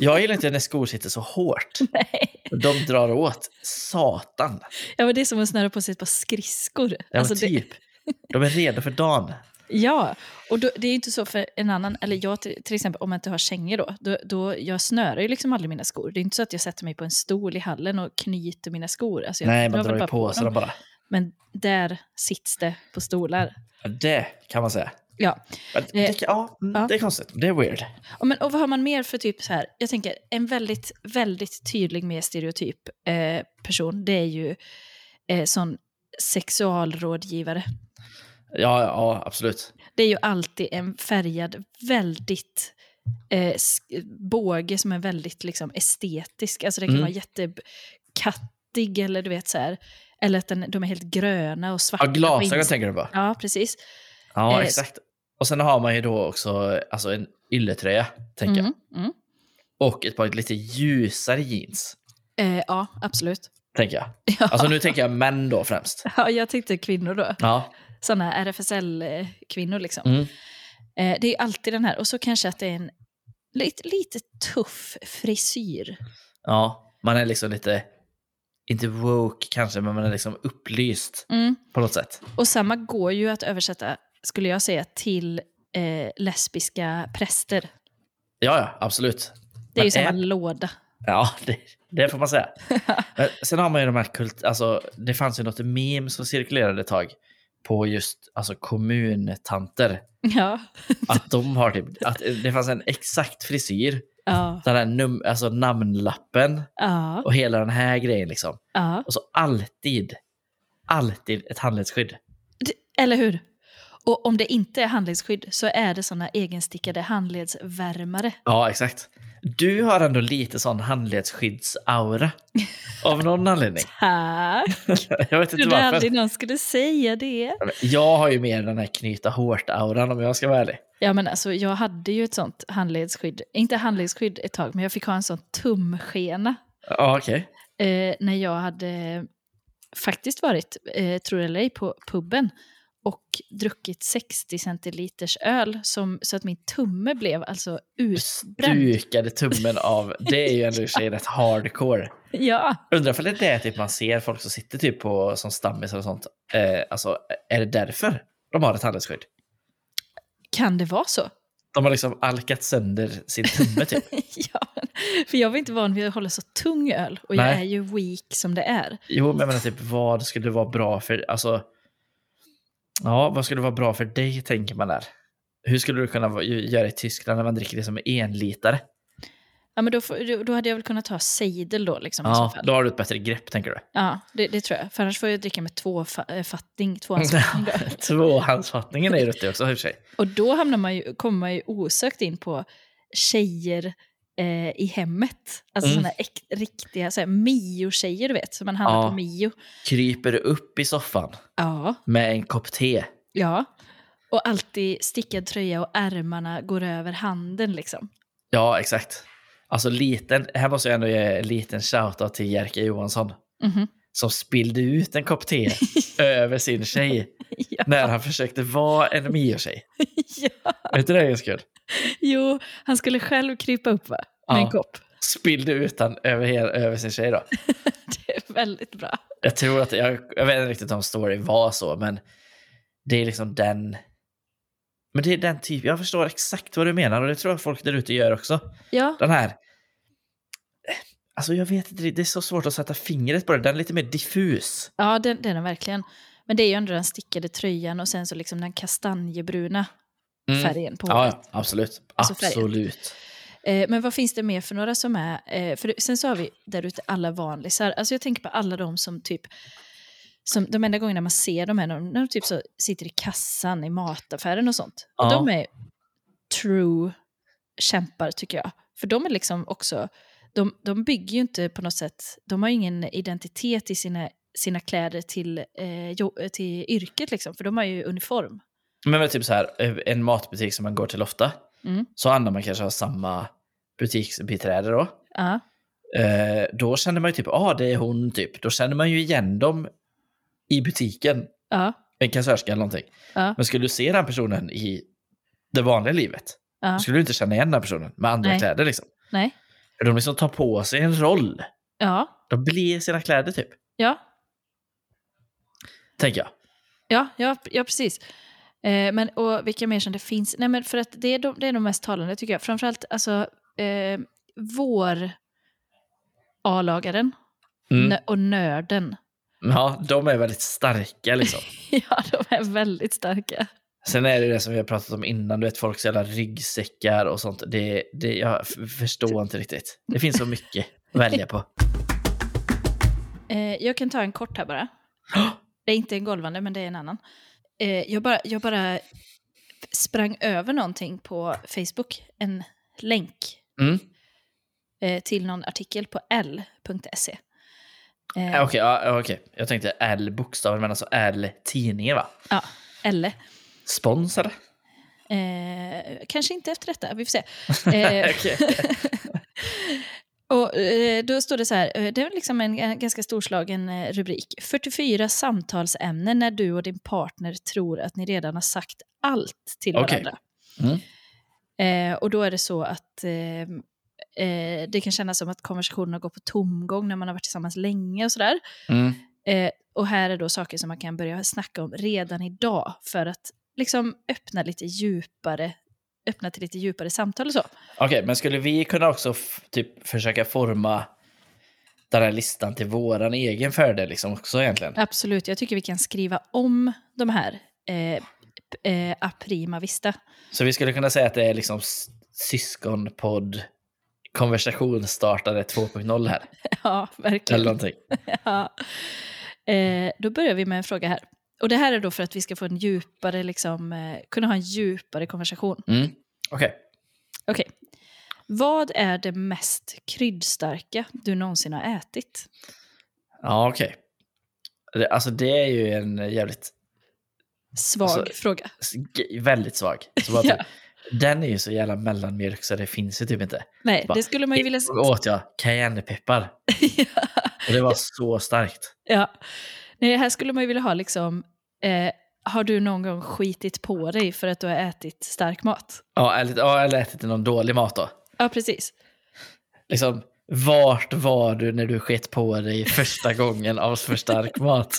[SPEAKER 2] jag gillar inte när skor sitter så hårt.
[SPEAKER 1] Nej.
[SPEAKER 2] De drar åt satan.
[SPEAKER 1] Ja, men det är som att snöra på sig ett par skridskor.
[SPEAKER 2] Ja,
[SPEAKER 1] Alltså,
[SPEAKER 2] alltså,
[SPEAKER 1] det,
[SPEAKER 2] typ. De är redo för dagen.
[SPEAKER 1] ja. och då, det är ju inte så för en annan, eller jag till, till exempel, om jag inte har kängor då, då, då, jag snörar ju liksom aldrig mina skor. Det är inte så att jag sätter mig på en stol i hallen och knyter mina skor. Alltså, jag
[SPEAKER 2] Nej, man
[SPEAKER 1] väl
[SPEAKER 2] drar ju
[SPEAKER 1] bara
[SPEAKER 2] på sig
[SPEAKER 1] dem.
[SPEAKER 2] dem bara.
[SPEAKER 1] Men där sits det på stolar.
[SPEAKER 2] Ja, Det kan man säga.
[SPEAKER 1] Ja.
[SPEAKER 2] Men Det, ja, mm,
[SPEAKER 1] Eh, ja.
[SPEAKER 2] det är konstigt. Det är weird.
[SPEAKER 1] Ja, men, och vad har man mer för typ så här? Jag tänker en väldigt, väldigt tydlig mer stereotyp eh, person, det är ju eh, sån sexualrådgivare.
[SPEAKER 2] Ja, ja absolut.
[SPEAKER 1] Det är ju alltid en färgad, väldigt eh, sk- båge som är väldigt liksom estetisk. Alltså den kan
[SPEAKER 2] Mm.
[SPEAKER 1] vara jättekattig eller du vet så här. Eller att den, de är helt gröna och svarta.
[SPEAKER 2] Ja,
[SPEAKER 1] på
[SPEAKER 2] glasögon
[SPEAKER 1] insidan.
[SPEAKER 2] tänker du på?
[SPEAKER 1] Ja, precis.
[SPEAKER 2] Ja,
[SPEAKER 1] Eh,
[SPEAKER 2] exakt. Och sen har man ju då också alltså en ylletröja, tänker
[SPEAKER 1] Mm, mm.
[SPEAKER 2] jag. Och ett par lite ljusare jeans,
[SPEAKER 1] Eh, ja, absolut. <laughs>
[SPEAKER 2] tänker jag.
[SPEAKER 1] Ja.
[SPEAKER 2] Alltså nu tänker jag män då främst.
[SPEAKER 1] Ja, jag tänkte kvinnor då.
[SPEAKER 2] Ja,
[SPEAKER 1] Såna RFSL-kvinnor liksom.
[SPEAKER 2] mm.
[SPEAKER 1] Eh, det är alltid den här. Och så kanske att det är en lite, lite tuff frisyr.
[SPEAKER 2] ja. Man är liksom lite, inte woke kanske, men man är liksom upplyst på något sätt.
[SPEAKER 1] Mm. Och samma går ju att översätta, skulle jag säga, till eh, lesbiska präster.
[SPEAKER 2] Ja, ja, absolut.
[SPEAKER 1] Det är ju
[SPEAKER 2] Men
[SPEAKER 1] samma
[SPEAKER 2] är-
[SPEAKER 1] låda. <laughs>
[SPEAKER 2] Ja, <laughs> det, det får man säga. Men Sen har man ju de här kult... Alltså, det fanns ju något meme som cirkulerade ett tag på just alltså, kommuntanter.
[SPEAKER 1] Ja. <laughs>
[SPEAKER 2] Att de har typ... Att det fanns en exakt frisyr,
[SPEAKER 1] Ja.
[SPEAKER 2] den här num, alltså, namnlappen
[SPEAKER 1] Ja.
[SPEAKER 2] och hela den här grejen liksom.
[SPEAKER 1] ja.
[SPEAKER 2] Och så alltid, alltid ett handledsskydd.
[SPEAKER 1] Det, eller hur? Och om det inte är handledsskydd så är det såna egenstickade handledsvärmare.
[SPEAKER 2] Ja, exakt. Du har ändå lite sån handledsskydds-aura. Av någon anledning.
[SPEAKER 1] Tack!
[SPEAKER 2] Jag vet inte
[SPEAKER 1] Trodde
[SPEAKER 2] varför.
[SPEAKER 1] aldrig någon skulle säga det.
[SPEAKER 2] Jag har ju mer den här knyta hårt-auran om jag ska vara ärlig.
[SPEAKER 1] Ja, men alltså, jag hade ju ett sånt handledsskydd. Inte handledsskydd ett tag, men jag fick ha en sån tumskena
[SPEAKER 2] Ja, okej.
[SPEAKER 1] eh, när jag hade faktiskt varit, eh, tror det eller ej, på puben och druckit 60 centiliters öl som, så att min tumme blev alltså
[SPEAKER 2] <laughs>
[SPEAKER 1] utbränd.
[SPEAKER 2] Dukade tummen av. Det är ju ändå i och för sig rätt hardcore.
[SPEAKER 1] Ja,
[SPEAKER 2] Undrar för det är det typ man ser folk som sitter typ på som stammis eller sånt. Eh, alltså, är det därför de har ett handelsskydd?
[SPEAKER 1] kan det vara så? <laughs>
[SPEAKER 2] De har liksom alkat sönder sin tumme typ.
[SPEAKER 1] ja, för jag var inte van vid att hålla så tung öl och jag
[SPEAKER 2] Nej.
[SPEAKER 1] är ju weak som det är.
[SPEAKER 2] Jo, men jag menar typ vad skulle det vara bra för? Alltså, ja, vad skulle det vara bra för dig tänker man där. Hur skulle du kunna vara- göra i Tyskland när man dricker det som enlitare?
[SPEAKER 1] Ja, men då, får- då hade jag väl kunnat ta sejdel då liksom, i så
[SPEAKER 2] Ja,
[SPEAKER 1] fall.
[SPEAKER 2] Alltså, då har du ett bättre grepp tänker du.
[SPEAKER 1] Ja, det, det tror jag. För annars får jag dricka med eh, tvåfattning,
[SPEAKER 2] Mm. <laughs>
[SPEAKER 1] tvåhandsfattning. då.
[SPEAKER 2] Tvåhandsfattningen är ju ruttig också i och för sig.
[SPEAKER 1] Och då hamnar man ju, kommer man ju osökt in på tjejer eh, i hemmet. Alltså
[SPEAKER 2] Mm.
[SPEAKER 1] såna äk, riktiga så här, Mio-tjejer, du vet. Som man handlar
[SPEAKER 2] Ja.
[SPEAKER 1] på Mio.
[SPEAKER 2] Kryper upp i soffan
[SPEAKER 1] Ja,
[SPEAKER 2] med en kopp te.
[SPEAKER 1] ja. Och alltid stickad tröja och ärmarna går över handen liksom.
[SPEAKER 2] Ja, exakt. Alltså liten, här måste jag ändå ge en liten shoutout till Jerka Johansson.
[SPEAKER 1] Mhm.
[SPEAKER 2] Som spillde ut en kopp <laughs> te över sin tjej
[SPEAKER 1] <laughs> Ja,
[SPEAKER 2] när han försökte vara en Mio-tjej.
[SPEAKER 1] ja.
[SPEAKER 2] Är inte det ganska kul?
[SPEAKER 1] Jo, han skulle själv krypa upp va? Med en
[SPEAKER 2] Ja.
[SPEAKER 1] kopp. <laughs>
[SPEAKER 2] Spillde ut han över, hela- över sin tjej då.
[SPEAKER 1] Det är väldigt bra.
[SPEAKER 2] Jag tror att, jag, jag vet inte riktigt om storyn var så, men det är liksom den... Men det är den typ, jag förstår exakt vad du menar och det tror jag folk där ute gör också.
[SPEAKER 1] Ja,
[SPEAKER 2] Den här... Alltså jag vet inte, det är så svårt att sätta fingret på det. Den är lite mer diffus.
[SPEAKER 1] ja den, den är verkligen. Men det är ju ändå den stickade tröjan och sen så liksom den kastanjebruna färgen på
[SPEAKER 2] Mm. Ja,
[SPEAKER 1] håret.
[SPEAKER 2] ja, absolut.
[SPEAKER 1] Alltså färgen.
[SPEAKER 2] absolut.
[SPEAKER 1] Eh, men vad finns det mer för några som är... Eh, för sen så har vi där ute alla vanlisar. Alltså jag tänker på alla de som typ... Som de enda gångerna man ser de här, när de, när de typ så sitter i kassan i mataffären och sånt.
[SPEAKER 2] Ja.
[SPEAKER 1] Och de är true kämpar tycker jag. För de är liksom också... De, de bygger ju inte på något sätt... De har ju ingen identitet i sina, sina kläder till, eh, jo, till yrket liksom. För de har ju uniform.
[SPEAKER 2] Men med typ så här, en matbutik som man går till ofta,
[SPEAKER 1] Mm.
[SPEAKER 2] så använder man kanske har samma butiksbiträde då.
[SPEAKER 1] Ja,
[SPEAKER 2] Eh, då känner man ju typ, ja ah, det är hon typ. Då känner man ju igen dem i butiken,
[SPEAKER 1] ja,
[SPEAKER 2] en kassörska eller någonting.
[SPEAKER 1] ja,
[SPEAKER 2] Men skulle du se den personen i det vanliga livet,
[SPEAKER 1] ja.
[SPEAKER 2] då skulle du inte känna igen den personen med andra
[SPEAKER 1] Nej.
[SPEAKER 2] kläder liksom.
[SPEAKER 1] Nej.
[SPEAKER 2] De liksom tar på sig en roll.
[SPEAKER 1] Ja,
[SPEAKER 2] De blir sina kläder typ,
[SPEAKER 1] ja.
[SPEAKER 2] tänker jag.
[SPEAKER 1] Ja, ja, ja precis. Eh, men, och vilka mer som det finns? Nej, men för att det är de, det är de mest talande tycker jag. Framförallt alltså, eh, vår A-lagaren
[SPEAKER 2] Mm.
[SPEAKER 1] nö- och nörden. <laughs>
[SPEAKER 2] Ja, de är väldigt starka liksom. <laughs>
[SPEAKER 1] ja, de är väldigt starka.
[SPEAKER 2] Sen är det ju det som vi har pratat om innan, du vet folks jävla ryggsäckar och sånt. Det, det, jag f-
[SPEAKER 1] Typ.
[SPEAKER 2] förstår inte riktigt. Det finns så mycket att välja på.
[SPEAKER 1] Eh, jag kan ta en kort här
[SPEAKER 2] <gasps>
[SPEAKER 1] bara.
[SPEAKER 2] Ja.
[SPEAKER 1] Det är inte en golvande, men det är en annan. Eh, jag, bara, jag bara sprang över någonting på Facebook, en länk
[SPEAKER 2] Mm.
[SPEAKER 1] eh, till någon artikel på l.se. E. Eh,
[SPEAKER 2] Ja, Okej, ja, ja, okej. jag tänkte L bokstaven, men alltså L tidningen va?
[SPEAKER 1] Ja, eller.
[SPEAKER 2] Sponsor?
[SPEAKER 1] Eh, kanske inte efter detta, vi får
[SPEAKER 2] <laughs>
[SPEAKER 1] se. Eh,
[SPEAKER 2] Okej.
[SPEAKER 1] <laughs> och, eh, då står det så här, eh, det är liksom en eh, ganska storslagen eh, rubrik. 44 samtalsämnen när du och din partner tror att ni redan har sagt allt till
[SPEAKER 2] Okej.
[SPEAKER 1] varandra.
[SPEAKER 2] Mm.
[SPEAKER 1] Eh, och då är det så att eh, eh, det kan kännas som att konversationerna går på tomgång när man har varit tillsammans länge och sådär.
[SPEAKER 2] Mm.
[SPEAKER 1] Eh, och här är då saker som man kan börja snacka om redan idag för att liksom öppna lite djupare öppna till lite djupare samtal och så.
[SPEAKER 2] Okej, men skulle vi kunna också f- typ försöka forma den här listan till våran egen fördel liksom också egentligen?
[SPEAKER 1] Absolut, jag tycker vi kan skriva om de här eh, p- eh, a prima vista. <laughs>
[SPEAKER 2] Så vi skulle kunna säga att det är liksom s- syskonpodd konversationsstartare 2.0 här.
[SPEAKER 1] Typ. Ja,
[SPEAKER 2] Eller
[SPEAKER 1] verkligen.
[SPEAKER 2] någonting.
[SPEAKER 1] Ja. Eh, då börjar vi med en fråga här. Och det här är då för att vi ska få en djupare, liksom, eh, kunna ha en djupare konversation.
[SPEAKER 2] Mm. Okej.
[SPEAKER 1] Okej. Vad är det mest kryddstarka du någonsin har ätit?
[SPEAKER 2] Ja, okej. Det- Alltså det är ju en jävligt,
[SPEAKER 1] Svag
[SPEAKER 2] Alltså,
[SPEAKER 1] fråga.
[SPEAKER 2] s- g- väldigt svag.
[SPEAKER 1] <laughs>
[SPEAKER 2] Så bara,
[SPEAKER 1] Ja.
[SPEAKER 2] typ, Den är ju så jävla mellanmjölk så det finns ju typ inte.
[SPEAKER 1] Nej,
[SPEAKER 2] bara,
[SPEAKER 1] det skulle man ju vilja
[SPEAKER 2] Då åt jag
[SPEAKER 1] <laughs>
[SPEAKER 2] cayennepeppar. Och det var så starkt.
[SPEAKER 1] ja. Nej, här skulle man ju vilja ha liksom, eh, har du någon gång skitit på dig för att du har ätit stark mat?
[SPEAKER 2] Ja, eller, ja, eller ätit någon dålig mat då.
[SPEAKER 1] Ja,
[SPEAKER 2] <laughs>
[SPEAKER 1] precis.
[SPEAKER 2] Liksom, vart var du när du skett på
[SPEAKER 1] <laughs>
[SPEAKER 2] dig första gången av för stark mat?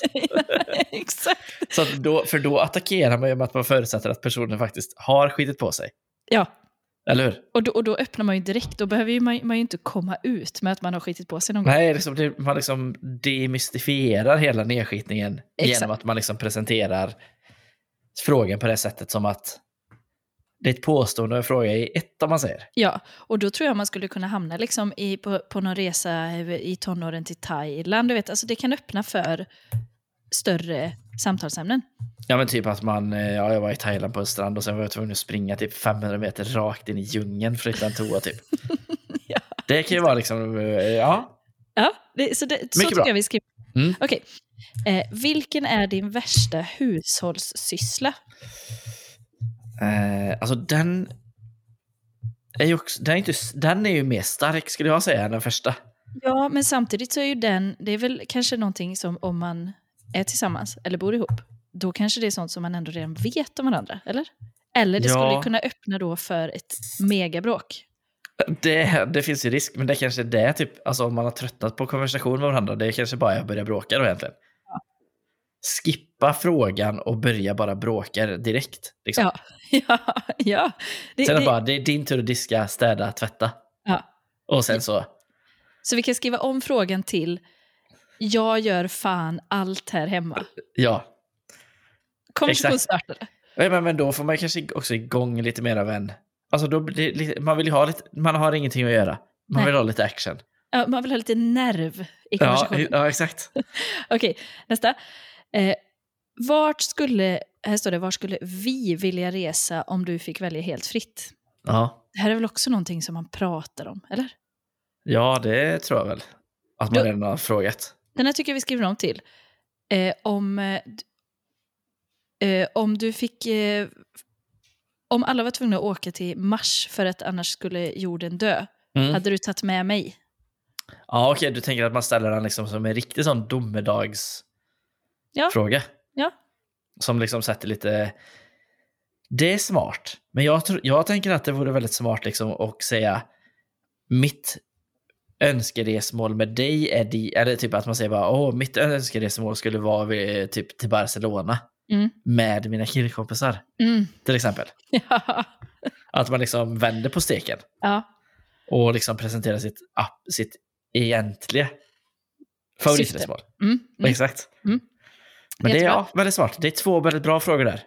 [SPEAKER 1] Exakt.
[SPEAKER 2] Så att då, för då attackerar man ju med att man förutsätter att personen faktiskt har skitit på sig.
[SPEAKER 1] Ja,
[SPEAKER 2] Eller hur?
[SPEAKER 1] och då, och då öppnar man ju direkt. Då behöver ju man, man ju inte komma ut med att man har skitit på sig någon gång.
[SPEAKER 2] Nej, liksom, det, man liksom demystifierar hela nedskitningen
[SPEAKER 1] Exakt.
[SPEAKER 2] genom att man liksom presenterar frågan på det sättet som att det är ett påstående och en fråga i ett om man säger.
[SPEAKER 1] Ja, och då tror jag man skulle kunna hamna liksom i, på, på någon resa i tonåren till Thailand. Du vet, alltså det kan öppna för större samtalsämnen.
[SPEAKER 2] Ja men typ att man, eh, ja jag var i Thailand på en strand och sen var jag tvungen att springa typ 500 meter rakt in i djungeln för att hitta en toa typ.
[SPEAKER 1] Ja.
[SPEAKER 2] Det kan ju vara liksom, eh, ja.
[SPEAKER 1] Ja, det, så, det, så
[SPEAKER 2] Mycket
[SPEAKER 1] tycker
[SPEAKER 2] bra.
[SPEAKER 1] jag vi skriver.
[SPEAKER 2] Mm.
[SPEAKER 1] Okej. Eh, vilken är din värsta hushållssyssla?
[SPEAKER 2] Eh, alltså den är ju, också, den, är inte, den är ju mer stark skulle jag säga än den första.
[SPEAKER 1] Ja, men samtidigt så är ju den, det är väl kanske någonting som om man är tillsammans eller bor ihop, då kanske det är sånt som man ändå redan vet om varandra, eller? Eller det
[SPEAKER 2] Ja.
[SPEAKER 1] skulle ju kunna öppna då för ett megabråk. <laughs>
[SPEAKER 2] Det, det finns ju risk, men det kanske är det typ, alltså om man har tröttnat på konversation med varandra, det är kanske bara jag börjar bråka då egentligen. Skippa frågan och börja bara bråka direkt. Liksom.
[SPEAKER 1] Ja, ja, ja. Det,
[SPEAKER 2] sen är
[SPEAKER 1] det-
[SPEAKER 2] det bara, det är din tur att diska, städa, tvätta.
[SPEAKER 1] Ja.
[SPEAKER 2] Och sen så,
[SPEAKER 1] Så vi kan skriva om frågan till jag gör fan allt här hemma.
[SPEAKER 2] ja.
[SPEAKER 1] Konversationsstartare.
[SPEAKER 2] Ja, Men, men då får man kanske också igång lite mer av en... Alltså då blir det, lite- man vill ju ha lite, man har ingenting att göra. Man
[SPEAKER 1] Nej.
[SPEAKER 2] vill ha lite action.
[SPEAKER 1] Ja, man vill ha lite nerv i
[SPEAKER 2] Ja,
[SPEAKER 1] konversationen.
[SPEAKER 2] ja, exakt.
[SPEAKER 1] Okej, nästa. Eh, vart skulle, här står det, vart skulle vi vilja resa om du fick välja helt fritt?
[SPEAKER 2] Ja,
[SPEAKER 1] Det här är väl också någonting som man pratar om, eller?
[SPEAKER 2] ja det tror jag väl. Att man
[SPEAKER 1] Då-
[SPEAKER 2] redan har frågat.
[SPEAKER 1] Den här tycker jag vi skriver om till. Eh, om, eh, d- eh, om du fick... Eh, om alla var tvungna att åka till Mars för att annars skulle jorden dö,
[SPEAKER 2] Mm.
[SPEAKER 1] hade du tagit med mig?
[SPEAKER 2] Ja, okej, du tänker att man ställer den liksom som en riktig sån domedagsfråga.
[SPEAKER 1] Ja. Ja.
[SPEAKER 2] Som liksom sätter lite... Det är smart, men jag, tror, jag tänker att det vore väldigt smart liksom att säga mitt önskeresmål med dig är di, eller typ att man säger bara åh, mitt önskeresmål skulle vara vid, typ till Barcelona
[SPEAKER 1] Mm.
[SPEAKER 2] med mina killkompisar
[SPEAKER 1] Mm.
[SPEAKER 2] till exempel.
[SPEAKER 1] <laughs> Ja.
[SPEAKER 2] Att man liksom vänder på steken
[SPEAKER 1] ja.
[SPEAKER 2] och liksom presenterar sitt, app- sitt egentliga favoritresmål.
[SPEAKER 1] Mm. Mm.
[SPEAKER 2] Exakt.
[SPEAKER 1] Mm.
[SPEAKER 2] Men det är
[SPEAKER 1] Jättebra.
[SPEAKER 2] ja, väldigt smart. Det är två väldigt bra frågor där.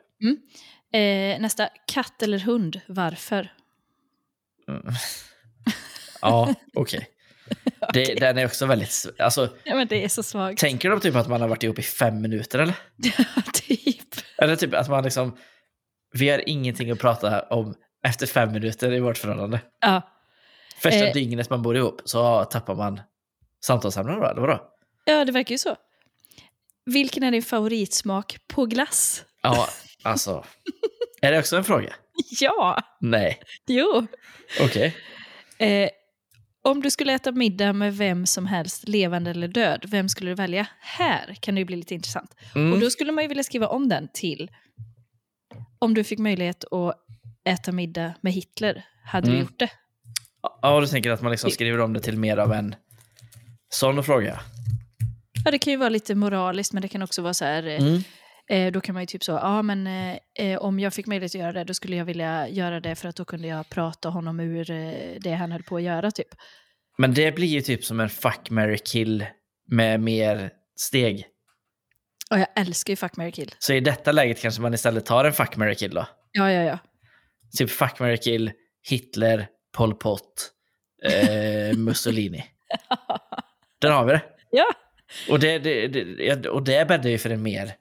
[SPEAKER 1] Eh, nästa. Katt eller hund? Varför?
[SPEAKER 2] Mm.
[SPEAKER 1] <laughs>
[SPEAKER 2] Ja, okej. Det- Den är också väldigt... sv- Alltså,
[SPEAKER 1] Ja, men det är så svagt.
[SPEAKER 2] tänker de typ att man har varit ihop i fem minuter eller?
[SPEAKER 1] <laughs> typ.
[SPEAKER 2] Eller typ att man liksom... Vi har ingenting att prata om efter fem minuter i vårt förhållande.
[SPEAKER 1] Ja.
[SPEAKER 2] Första
[SPEAKER 1] Eh.
[SPEAKER 2] dygnet man bor ihop så tappar man samtalsämnen då, eller vadå?
[SPEAKER 1] ja, det verkar ju så. Vilken är din favoritsmak på glass?
[SPEAKER 2] Ja,
[SPEAKER 1] <laughs>
[SPEAKER 2] alltså... Är det också en fråga?
[SPEAKER 1] Ja,
[SPEAKER 2] Nej.
[SPEAKER 1] jo.
[SPEAKER 2] Okej.
[SPEAKER 1] Eh, om du skulle äta middag med vem som helst, levande eller död, vem skulle du välja? Här kan det ju bli lite intressant.
[SPEAKER 2] Mm.
[SPEAKER 1] Och då skulle man ju vilja skriva om den till om du fick möjlighet att äta middag med Hitler, hade du
[SPEAKER 2] Mm.
[SPEAKER 1] gjort det?
[SPEAKER 2] Ja, du tänker att man liksom skriver om det till mer av en sån fråga?
[SPEAKER 1] Ja, det kan ju vara lite moraliskt, men det kan också vara så här, eh,
[SPEAKER 2] Mm.
[SPEAKER 1] eh, då kan man ju typ så, ja men eh, eh, om jag fick möjlighet att göra det, då skulle jag vilja göra det för att då kunde jag prata honom ur eh, det han höll på att göra typ.
[SPEAKER 2] Men det blir ju typ som en fuck, marry, kill med mer steg.
[SPEAKER 1] Och jag älskar ju Fuck, marry, kill.
[SPEAKER 2] Så i detta läget kanske man istället tar en fuck, marry, kill då.
[SPEAKER 1] Ja, ja, ja.
[SPEAKER 2] Typ fuck, marry, kill, Hitler, Pol Pot,
[SPEAKER 1] <laughs>
[SPEAKER 2] eh, Mussolini. Där har vi det.
[SPEAKER 1] Ja.
[SPEAKER 2] Och det, det, det, ja, och det bäddar ju för en mer...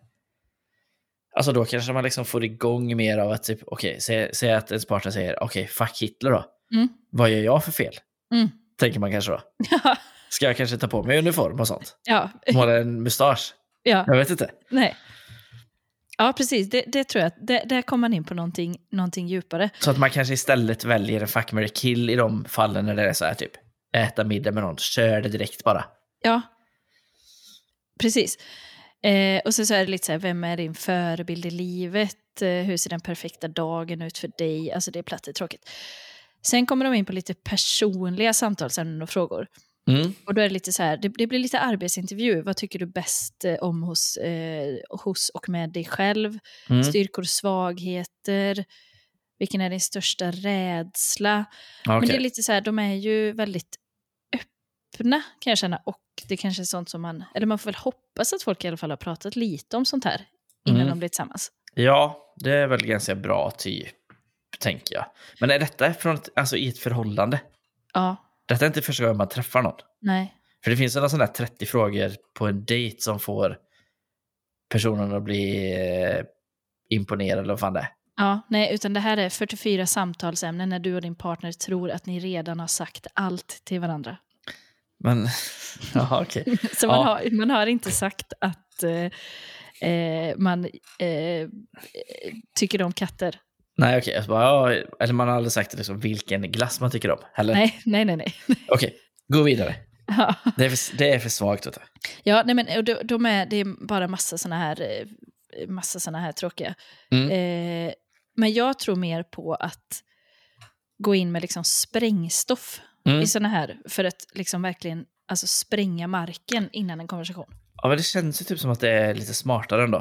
[SPEAKER 2] Alltså då kanske man liksom får igång mer av att typ, okej, säg, säg att ens partner säger, okej, fuck Hitler då.
[SPEAKER 1] Mm.
[SPEAKER 2] Vad gör jag för fel?
[SPEAKER 1] Mm.
[SPEAKER 2] Tänker man
[SPEAKER 1] <laughs>
[SPEAKER 2] kanske då. Ska jag kanske ta på mig uniform och sånt?
[SPEAKER 1] ja,
[SPEAKER 2] Måla en mustasch?
[SPEAKER 1] ja.
[SPEAKER 2] Jag vet inte.
[SPEAKER 1] Nej. Ja, precis. Det, det tror jag. att- Det, där kommer man in på någonting, någonting djupare.
[SPEAKER 2] Så att man kanske istället väljer en fuck, marry, kill i de fallen när det är så här typ äta middag med någon, kör det direkt bara.
[SPEAKER 1] Ja, precis. Eh, och så, så är det lite så här, vem är din förebild i livet? Eh, hur ser den perfekta dagen ut för dig? Alltså det är platt det är tråkigt. Sen kommer de in på lite personliga samtalsämnen och frågor.
[SPEAKER 2] Mm.
[SPEAKER 1] Och då är det lite så här, det, det blir lite arbetsintervju. Vad tycker du bäst eh, om hos, eh, hos och med dig själv?
[SPEAKER 2] Mm.
[SPEAKER 1] Styrkor och svagheter? Vilken är din största rädsla? Men det är
[SPEAKER 2] Okej.
[SPEAKER 1] lite så här, de är ju väldigt öppna kan jag känna. Och det kanske är sånt som man, eller man får väl hoppas att folk i alla fall har pratat lite om sånt här innan
[SPEAKER 2] Mm.
[SPEAKER 1] de blir tillsammans.
[SPEAKER 2] Ja, det är väl ganska bra typ, tänker jag. Men är detta från ett, alltså, i ett förhållande?
[SPEAKER 1] Ja,
[SPEAKER 2] Detta är inte första gången man träffar någon.
[SPEAKER 1] nej.
[SPEAKER 2] För det finns sådana sådana här 30 frågor på en dejt som får personen att bli eh, imponerad eller vad fan det är.
[SPEAKER 1] Ja, nej, utan det här är 44 samtalsämnen när du och din partner tror att ni redan har sagt allt till varandra. <laughs>
[SPEAKER 2] Men, <laughs> ja okej.
[SPEAKER 1] Så man,
[SPEAKER 2] Ja.
[SPEAKER 1] har, man har inte sagt att eh, eh, man eh, eh, tycker om katter.
[SPEAKER 2] Nej, okej. Jag bara, ja, eller man har aldrig sagt liksom vilken glass man tycker om. Eller?
[SPEAKER 1] Nej, nej, nej. nej.
[SPEAKER 2] Okej, gå
[SPEAKER 1] <laughs>
[SPEAKER 2] vidare.
[SPEAKER 1] Ja.
[SPEAKER 2] Det är för, det är för svagt. Vet du.
[SPEAKER 1] Ja, nej men och de, de är, det är bara massa såna här, eh, massa såna här tråkiga.
[SPEAKER 2] Mm.
[SPEAKER 1] Eh, men jag tror mer på att gå in med liksom sprängstoff
[SPEAKER 2] Mm.
[SPEAKER 1] i såna här för att liksom verkligen alltså, spränga marken innan en konversation.
[SPEAKER 2] Ja, men det känns ju typ som att det är lite smartare ändå.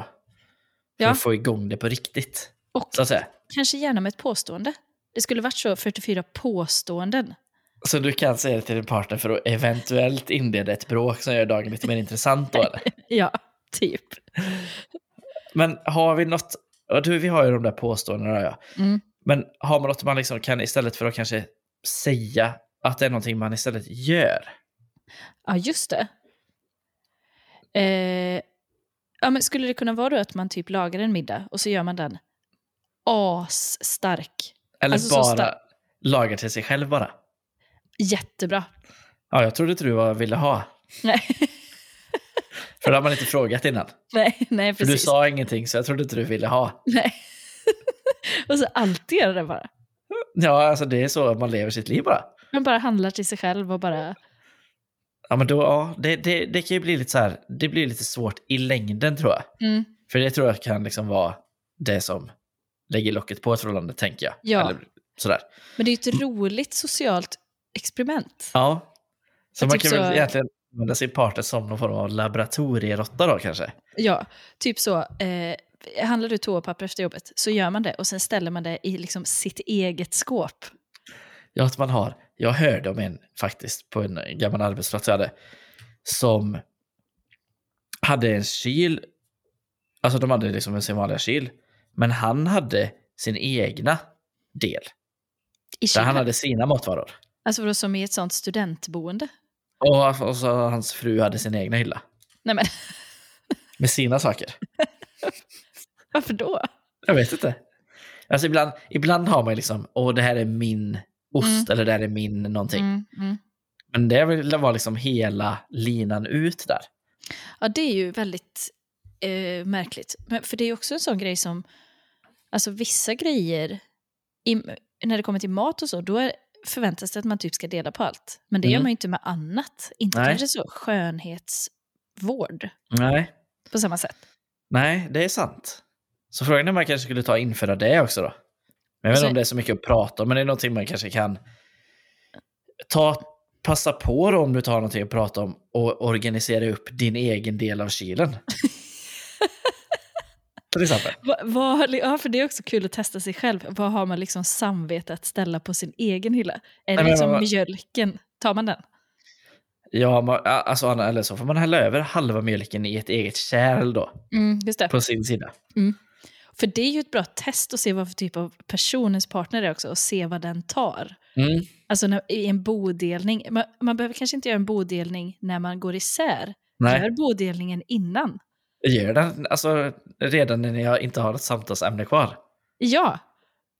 [SPEAKER 2] För
[SPEAKER 1] Ja.
[SPEAKER 2] att få igång det på riktigt.
[SPEAKER 1] Och
[SPEAKER 2] Så att säga.
[SPEAKER 1] kanske gärna med ett påstående. Det skulle varit så 44 påståenden.
[SPEAKER 2] Så du kan säga det till din partner för att eventuellt inleda ett bråk som gör dagen lite mer
[SPEAKER 1] <laughs>
[SPEAKER 2] intressant då eller?
[SPEAKER 1] Ja, typ.
[SPEAKER 2] Men har vi något, ja, du, vi har ju de där påståendena där, ja.
[SPEAKER 1] Mm.
[SPEAKER 2] Men har man något man liksom kan istället för att kanske säga att det är någonting man istället gör?
[SPEAKER 1] Ja, just det. Eh, ja, men skulle det kunna vara då att man typ lagar en middag och så gör man den asstark?
[SPEAKER 2] Eller
[SPEAKER 1] Alltså, så
[SPEAKER 2] bara
[SPEAKER 1] sta-
[SPEAKER 2] lagar till sig själv bara?
[SPEAKER 1] Jättebra. <laughs>
[SPEAKER 2] Ja, jag trodde inte du var- ville ha.
[SPEAKER 1] Nej,
[SPEAKER 2] <laughs> För det har man inte frågat innan.
[SPEAKER 1] nej, nej
[SPEAKER 2] För
[SPEAKER 1] precis.
[SPEAKER 2] du sa ingenting så jag trodde inte du ville ha.
[SPEAKER 1] Nej. och så alltid gör det bara.
[SPEAKER 2] Ja, alltså det är så man lever sitt liv bara.
[SPEAKER 1] Man bara handlar till sig själv och bara...
[SPEAKER 2] Ja, men då, ja, det, det, det kan ju bli lite så här, det blir lite svårt i längden tror jag.
[SPEAKER 1] Mm.
[SPEAKER 2] För det tror jag kan liksom vara det som lägger locket på ett förhållande, tänker jag.
[SPEAKER 1] Ja.
[SPEAKER 2] Eller sådär.
[SPEAKER 1] Men det är ju ett roligt socialt experiment.
[SPEAKER 2] Mm. Ja. Så
[SPEAKER 1] Jag
[SPEAKER 2] man
[SPEAKER 1] tycker
[SPEAKER 2] kan väl
[SPEAKER 1] så-
[SPEAKER 2] egentligen använda sin partner som någon form av laboratorieråtta då kanske.
[SPEAKER 1] Ja, typ så. Eh, handlar du toapapper efter jobbet så gör man det och sen ställer man det i liksom sitt eget skåp.
[SPEAKER 2] Ja, att man har. Jag hörde om en faktiskt på en gammal arbetsplats jag hade som hade en kyl. Alltså de hade liksom en sin vanliga kyl. Men han hade sin egna del.
[SPEAKER 1] I
[SPEAKER 2] Där han
[SPEAKER 1] kylen.
[SPEAKER 2] hade sina matvaror.
[SPEAKER 1] Alltså vadå, som i ett sånt studentboende?
[SPEAKER 2] Och, och så hans fru hade sin egna hylla.
[SPEAKER 1] Nej men, <laughs>
[SPEAKER 2] Med sina saker.
[SPEAKER 1] varför då?
[SPEAKER 2] Jag vet inte. Alltså ibland, ibland har man ju liksom, åh det här är min ost eller det här är min någonting.
[SPEAKER 1] Mm, mm.
[SPEAKER 2] Men det vill vara liksom hela linan ut där.
[SPEAKER 1] Ja, det är ju väldigt eh, märkligt. Men, för det är ju också en sån grej som, alltså vissa grejer, i, när det kommer till mat och så, då är, förväntas det att man typ ska dela på allt. Men det gör
[SPEAKER 2] Mm.
[SPEAKER 1] man ju inte med annat. Inte
[SPEAKER 2] Nej.
[SPEAKER 1] kanske så skönhetsvård
[SPEAKER 2] Nej.
[SPEAKER 1] på samma sätt.
[SPEAKER 2] Nej, det är sant. Så frågan är om man kanske skulle ta och införa det också då. Men jag vet
[SPEAKER 1] Alltså-
[SPEAKER 2] inte om det är så mycket att prata om, men det är någonting man kanske kan ta, passa på då om du tar någonting att prata om och organisera upp din egen del av kylen. Till exempel.
[SPEAKER 1] Va, vad- ja, för det är också kul att testa sig själv. Vad har man liksom samvete att ställa på sin egen hylla? Är det
[SPEAKER 2] men
[SPEAKER 1] liksom
[SPEAKER 2] vad-
[SPEAKER 1] mjölken? Tar man den?
[SPEAKER 2] Ja, man, alltså, Anna, eller så får man hälla över halva mjölken i ett eget kärl då,
[SPEAKER 1] Mm, just det.
[SPEAKER 2] på sin sida.
[SPEAKER 1] För det är ju ett bra test att se vad för typ av personens partner är också och se vad den tar.
[SPEAKER 2] Mm.
[SPEAKER 1] Alltså när, i en bodelning. Man, man behöver kanske inte göra en bodelning när man går isär.
[SPEAKER 2] Nej,
[SPEAKER 1] Gör bodelningen innan.
[SPEAKER 2] gör den alltså, redan när jag inte har ett samtalsämne kvar.
[SPEAKER 1] Ja.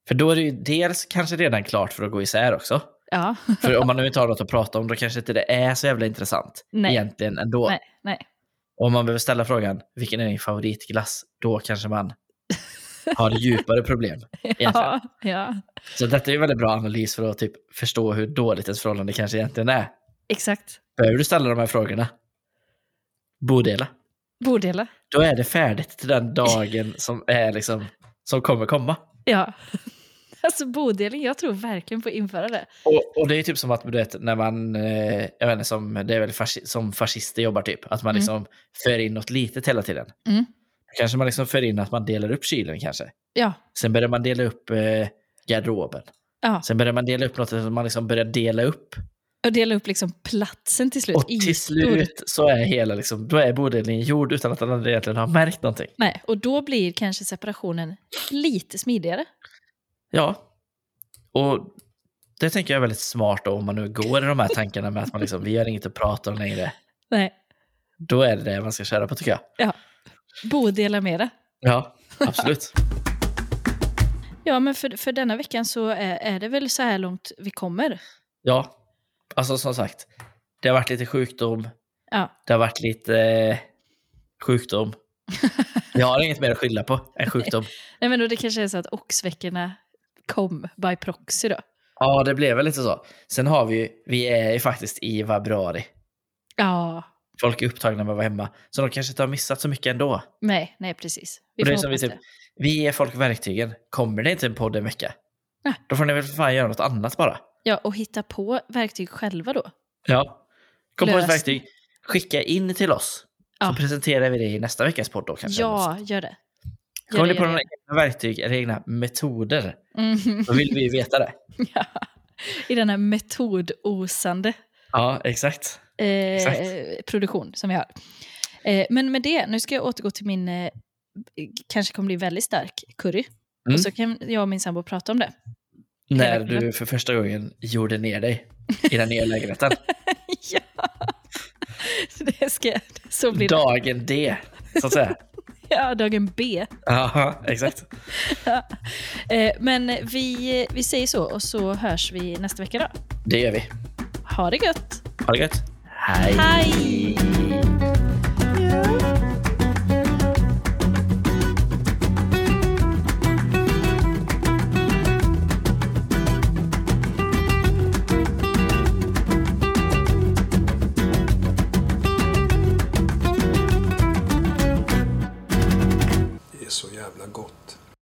[SPEAKER 2] För då är det ju dels kanske redan klart för att gå isär också.
[SPEAKER 1] Ja. <laughs>
[SPEAKER 2] För om man nu inte har något att prata om, då kanske inte det är så jävla intressant
[SPEAKER 1] Nej.
[SPEAKER 2] egentligen ändå.
[SPEAKER 1] Nej, nej.
[SPEAKER 2] Och om man behöver ställa frågan, vilken är din favoritglass? Då kanske man har djupare problem. egentligen.
[SPEAKER 1] <laughs> Ja, ja.
[SPEAKER 2] Så detta är ju en väldigt bra analys för att typ förstå hur dåligt ett förhållande kanske egentligen är.
[SPEAKER 1] Exakt.
[SPEAKER 2] Behöver du ställa de här frågorna? Bodela.
[SPEAKER 1] Bodela.
[SPEAKER 2] Då är det färdigt till den dagen som, är liksom, som kommer komma.
[SPEAKER 1] Ja. <laughs> Alltså bodelning, jag tror verkligen på att införa det.
[SPEAKER 2] Och, och det är typ som att du vet, när man, eh, jag vet inte, som, det är väl fasci- som fascister jobbar typ, att man
[SPEAKER 1] Mm.
[SPEAKER 2] liksom för in något litet hela tiden.
[SPEAKER 1] Mm.
[SPEAKER 2] Då kanske man liksom för in att man delar upp kylen kanske.
[SPEAKER 1] Ja.
[SPEAKER 2] Sen börjar man dela upp eh, garderoben.
[SPEAKER 1] ja.
[SPEAKER 2] Sen börjar man dela upp något, så man liksom börjar dela upp.
[SPEAKER 1] Och dela upp liksom platsen till slut.
[SPEAKER 2] Och till slut så är hela liksom, då är bodelningen gjord utan att den andra egentligen har märkt någonting.
[SPEAKER 1] Nej, och då blir kanske separationen lite smidigare.
[SPEAKER 2] Ja. Och det tänker jag är väldigt smart då, om man nu går i de här tankarna med att man liksom, vi har inget att prata om längre.
[SPEAKER 1] Nej.
[SPEAKER 2] Då är det det man ska köra på tycker jag.
[SPEAKER 1] Bodela mera.
[SPEAKER 2] Ja,
[SPEAKER 1] <laughs>
[SPEAKER 2] absolut.
[SPEAKER 1] Ja, men för, för denna veckan så är, är det väl så här långt vi kommer.
[SPEAKER 2] Ja, alltså som sagt, det har varit lite sjukdom,
[SPEAKER 1] Ja.
[SPEAKER 2] det har varit lite eh,
[SPEAKER 1] <laughs>
[SPEAKER 2] sjukdom. Jag har inget mer att skylla på än sjukdom.
[SPEAKER 1] Nej, men då det kanske är så att oxveckorna kom by proxy då.
[SPEAKER 2] Ja, det blev väl lite så. Sen har vi ju, vi är ju faktiskt i februari.
[SPEAKER 1] Ja,
[SPEAKER 2] Folk är upptagna med att vara hemma, så de kanske inte har missat så mycket ändå.
[SPEAKER 1] nej, nej precis. Vi
[SPEAKER 2] Och
[SPEAKER 1] får
[SPEAKER 2] det är som vi,
[SPEAKER 1] hoppas
[SPEAKER 2] typ, vi ger folk verktygen. Kommer det inte en podd en vecka,
[SPEAKER 1] Nej.
[SPEAKER 2] då får ni väl för fan göra något annat bara.
[SPEAKER 1] Ja, och hitta på verktyg själva då.
[SPEAKER 2] Ja. Kom på
[SPEAKER 1] Lösning.
[SPEAKER 2] ett verktyg, skicka in till oss.
[SPEAKER 1] Ja.
[SPEAKER 2] Så presenterar vi det i nästa veckas podd då kanske.
[SPEAKER 1] Ja, gör det. Gör
[SPEAKER 2] Kommer
[SPEAKER 1] det,
[SPEAKER 2] ni på
[SPEAKER 1] gör
[SPEAKER 2] några
[SPEAKER 1] det.
[SPEAKER 2] egna verktyg eller egna metoder,
[SPEAKER 1] Mhm.
[SPEAKER 2] då vill vi ju veta det.
[SPEAKER 1] ja. <laughs> I den här metodosande
[SPEAKER 2] <laughs> Ja, exakt. Exakt.
[SPEAKER 1] eh, produktion som vi har. Eh, men med det, nu ska jag återgå till min, eh, kanske kommer bli väldigt stark curry.
[SPEAKER 2] Mm.
[SPEAKER 1] Och så kan jag och min sambo prata om det.
[SPEAKER 2] När
[SPEAKER 1] Hela kvällen.
[SPEAKER 2] du för första gången gjorde ner dig i den nya <laughs> lägenheten.
[SPEAKER 1] <laughs> ja, det ska jag- så blir det.
[SPEAKER 2] Dagen D, så att <laughs> säga.
[SPEAKER 1] Ja, dagen B.
[SPEAKER 2] Ja, exakt.
[SPEAKER 1] Eh, men vi, vi säger så och så hörs vi nästa vecka då.
[SPEAKER 2] Det gör vi.
[SPEAKER 1] Ha det gött!
[SPEAKER 2] Ha det gött. Hej.
[SPEAKER 1] Hej!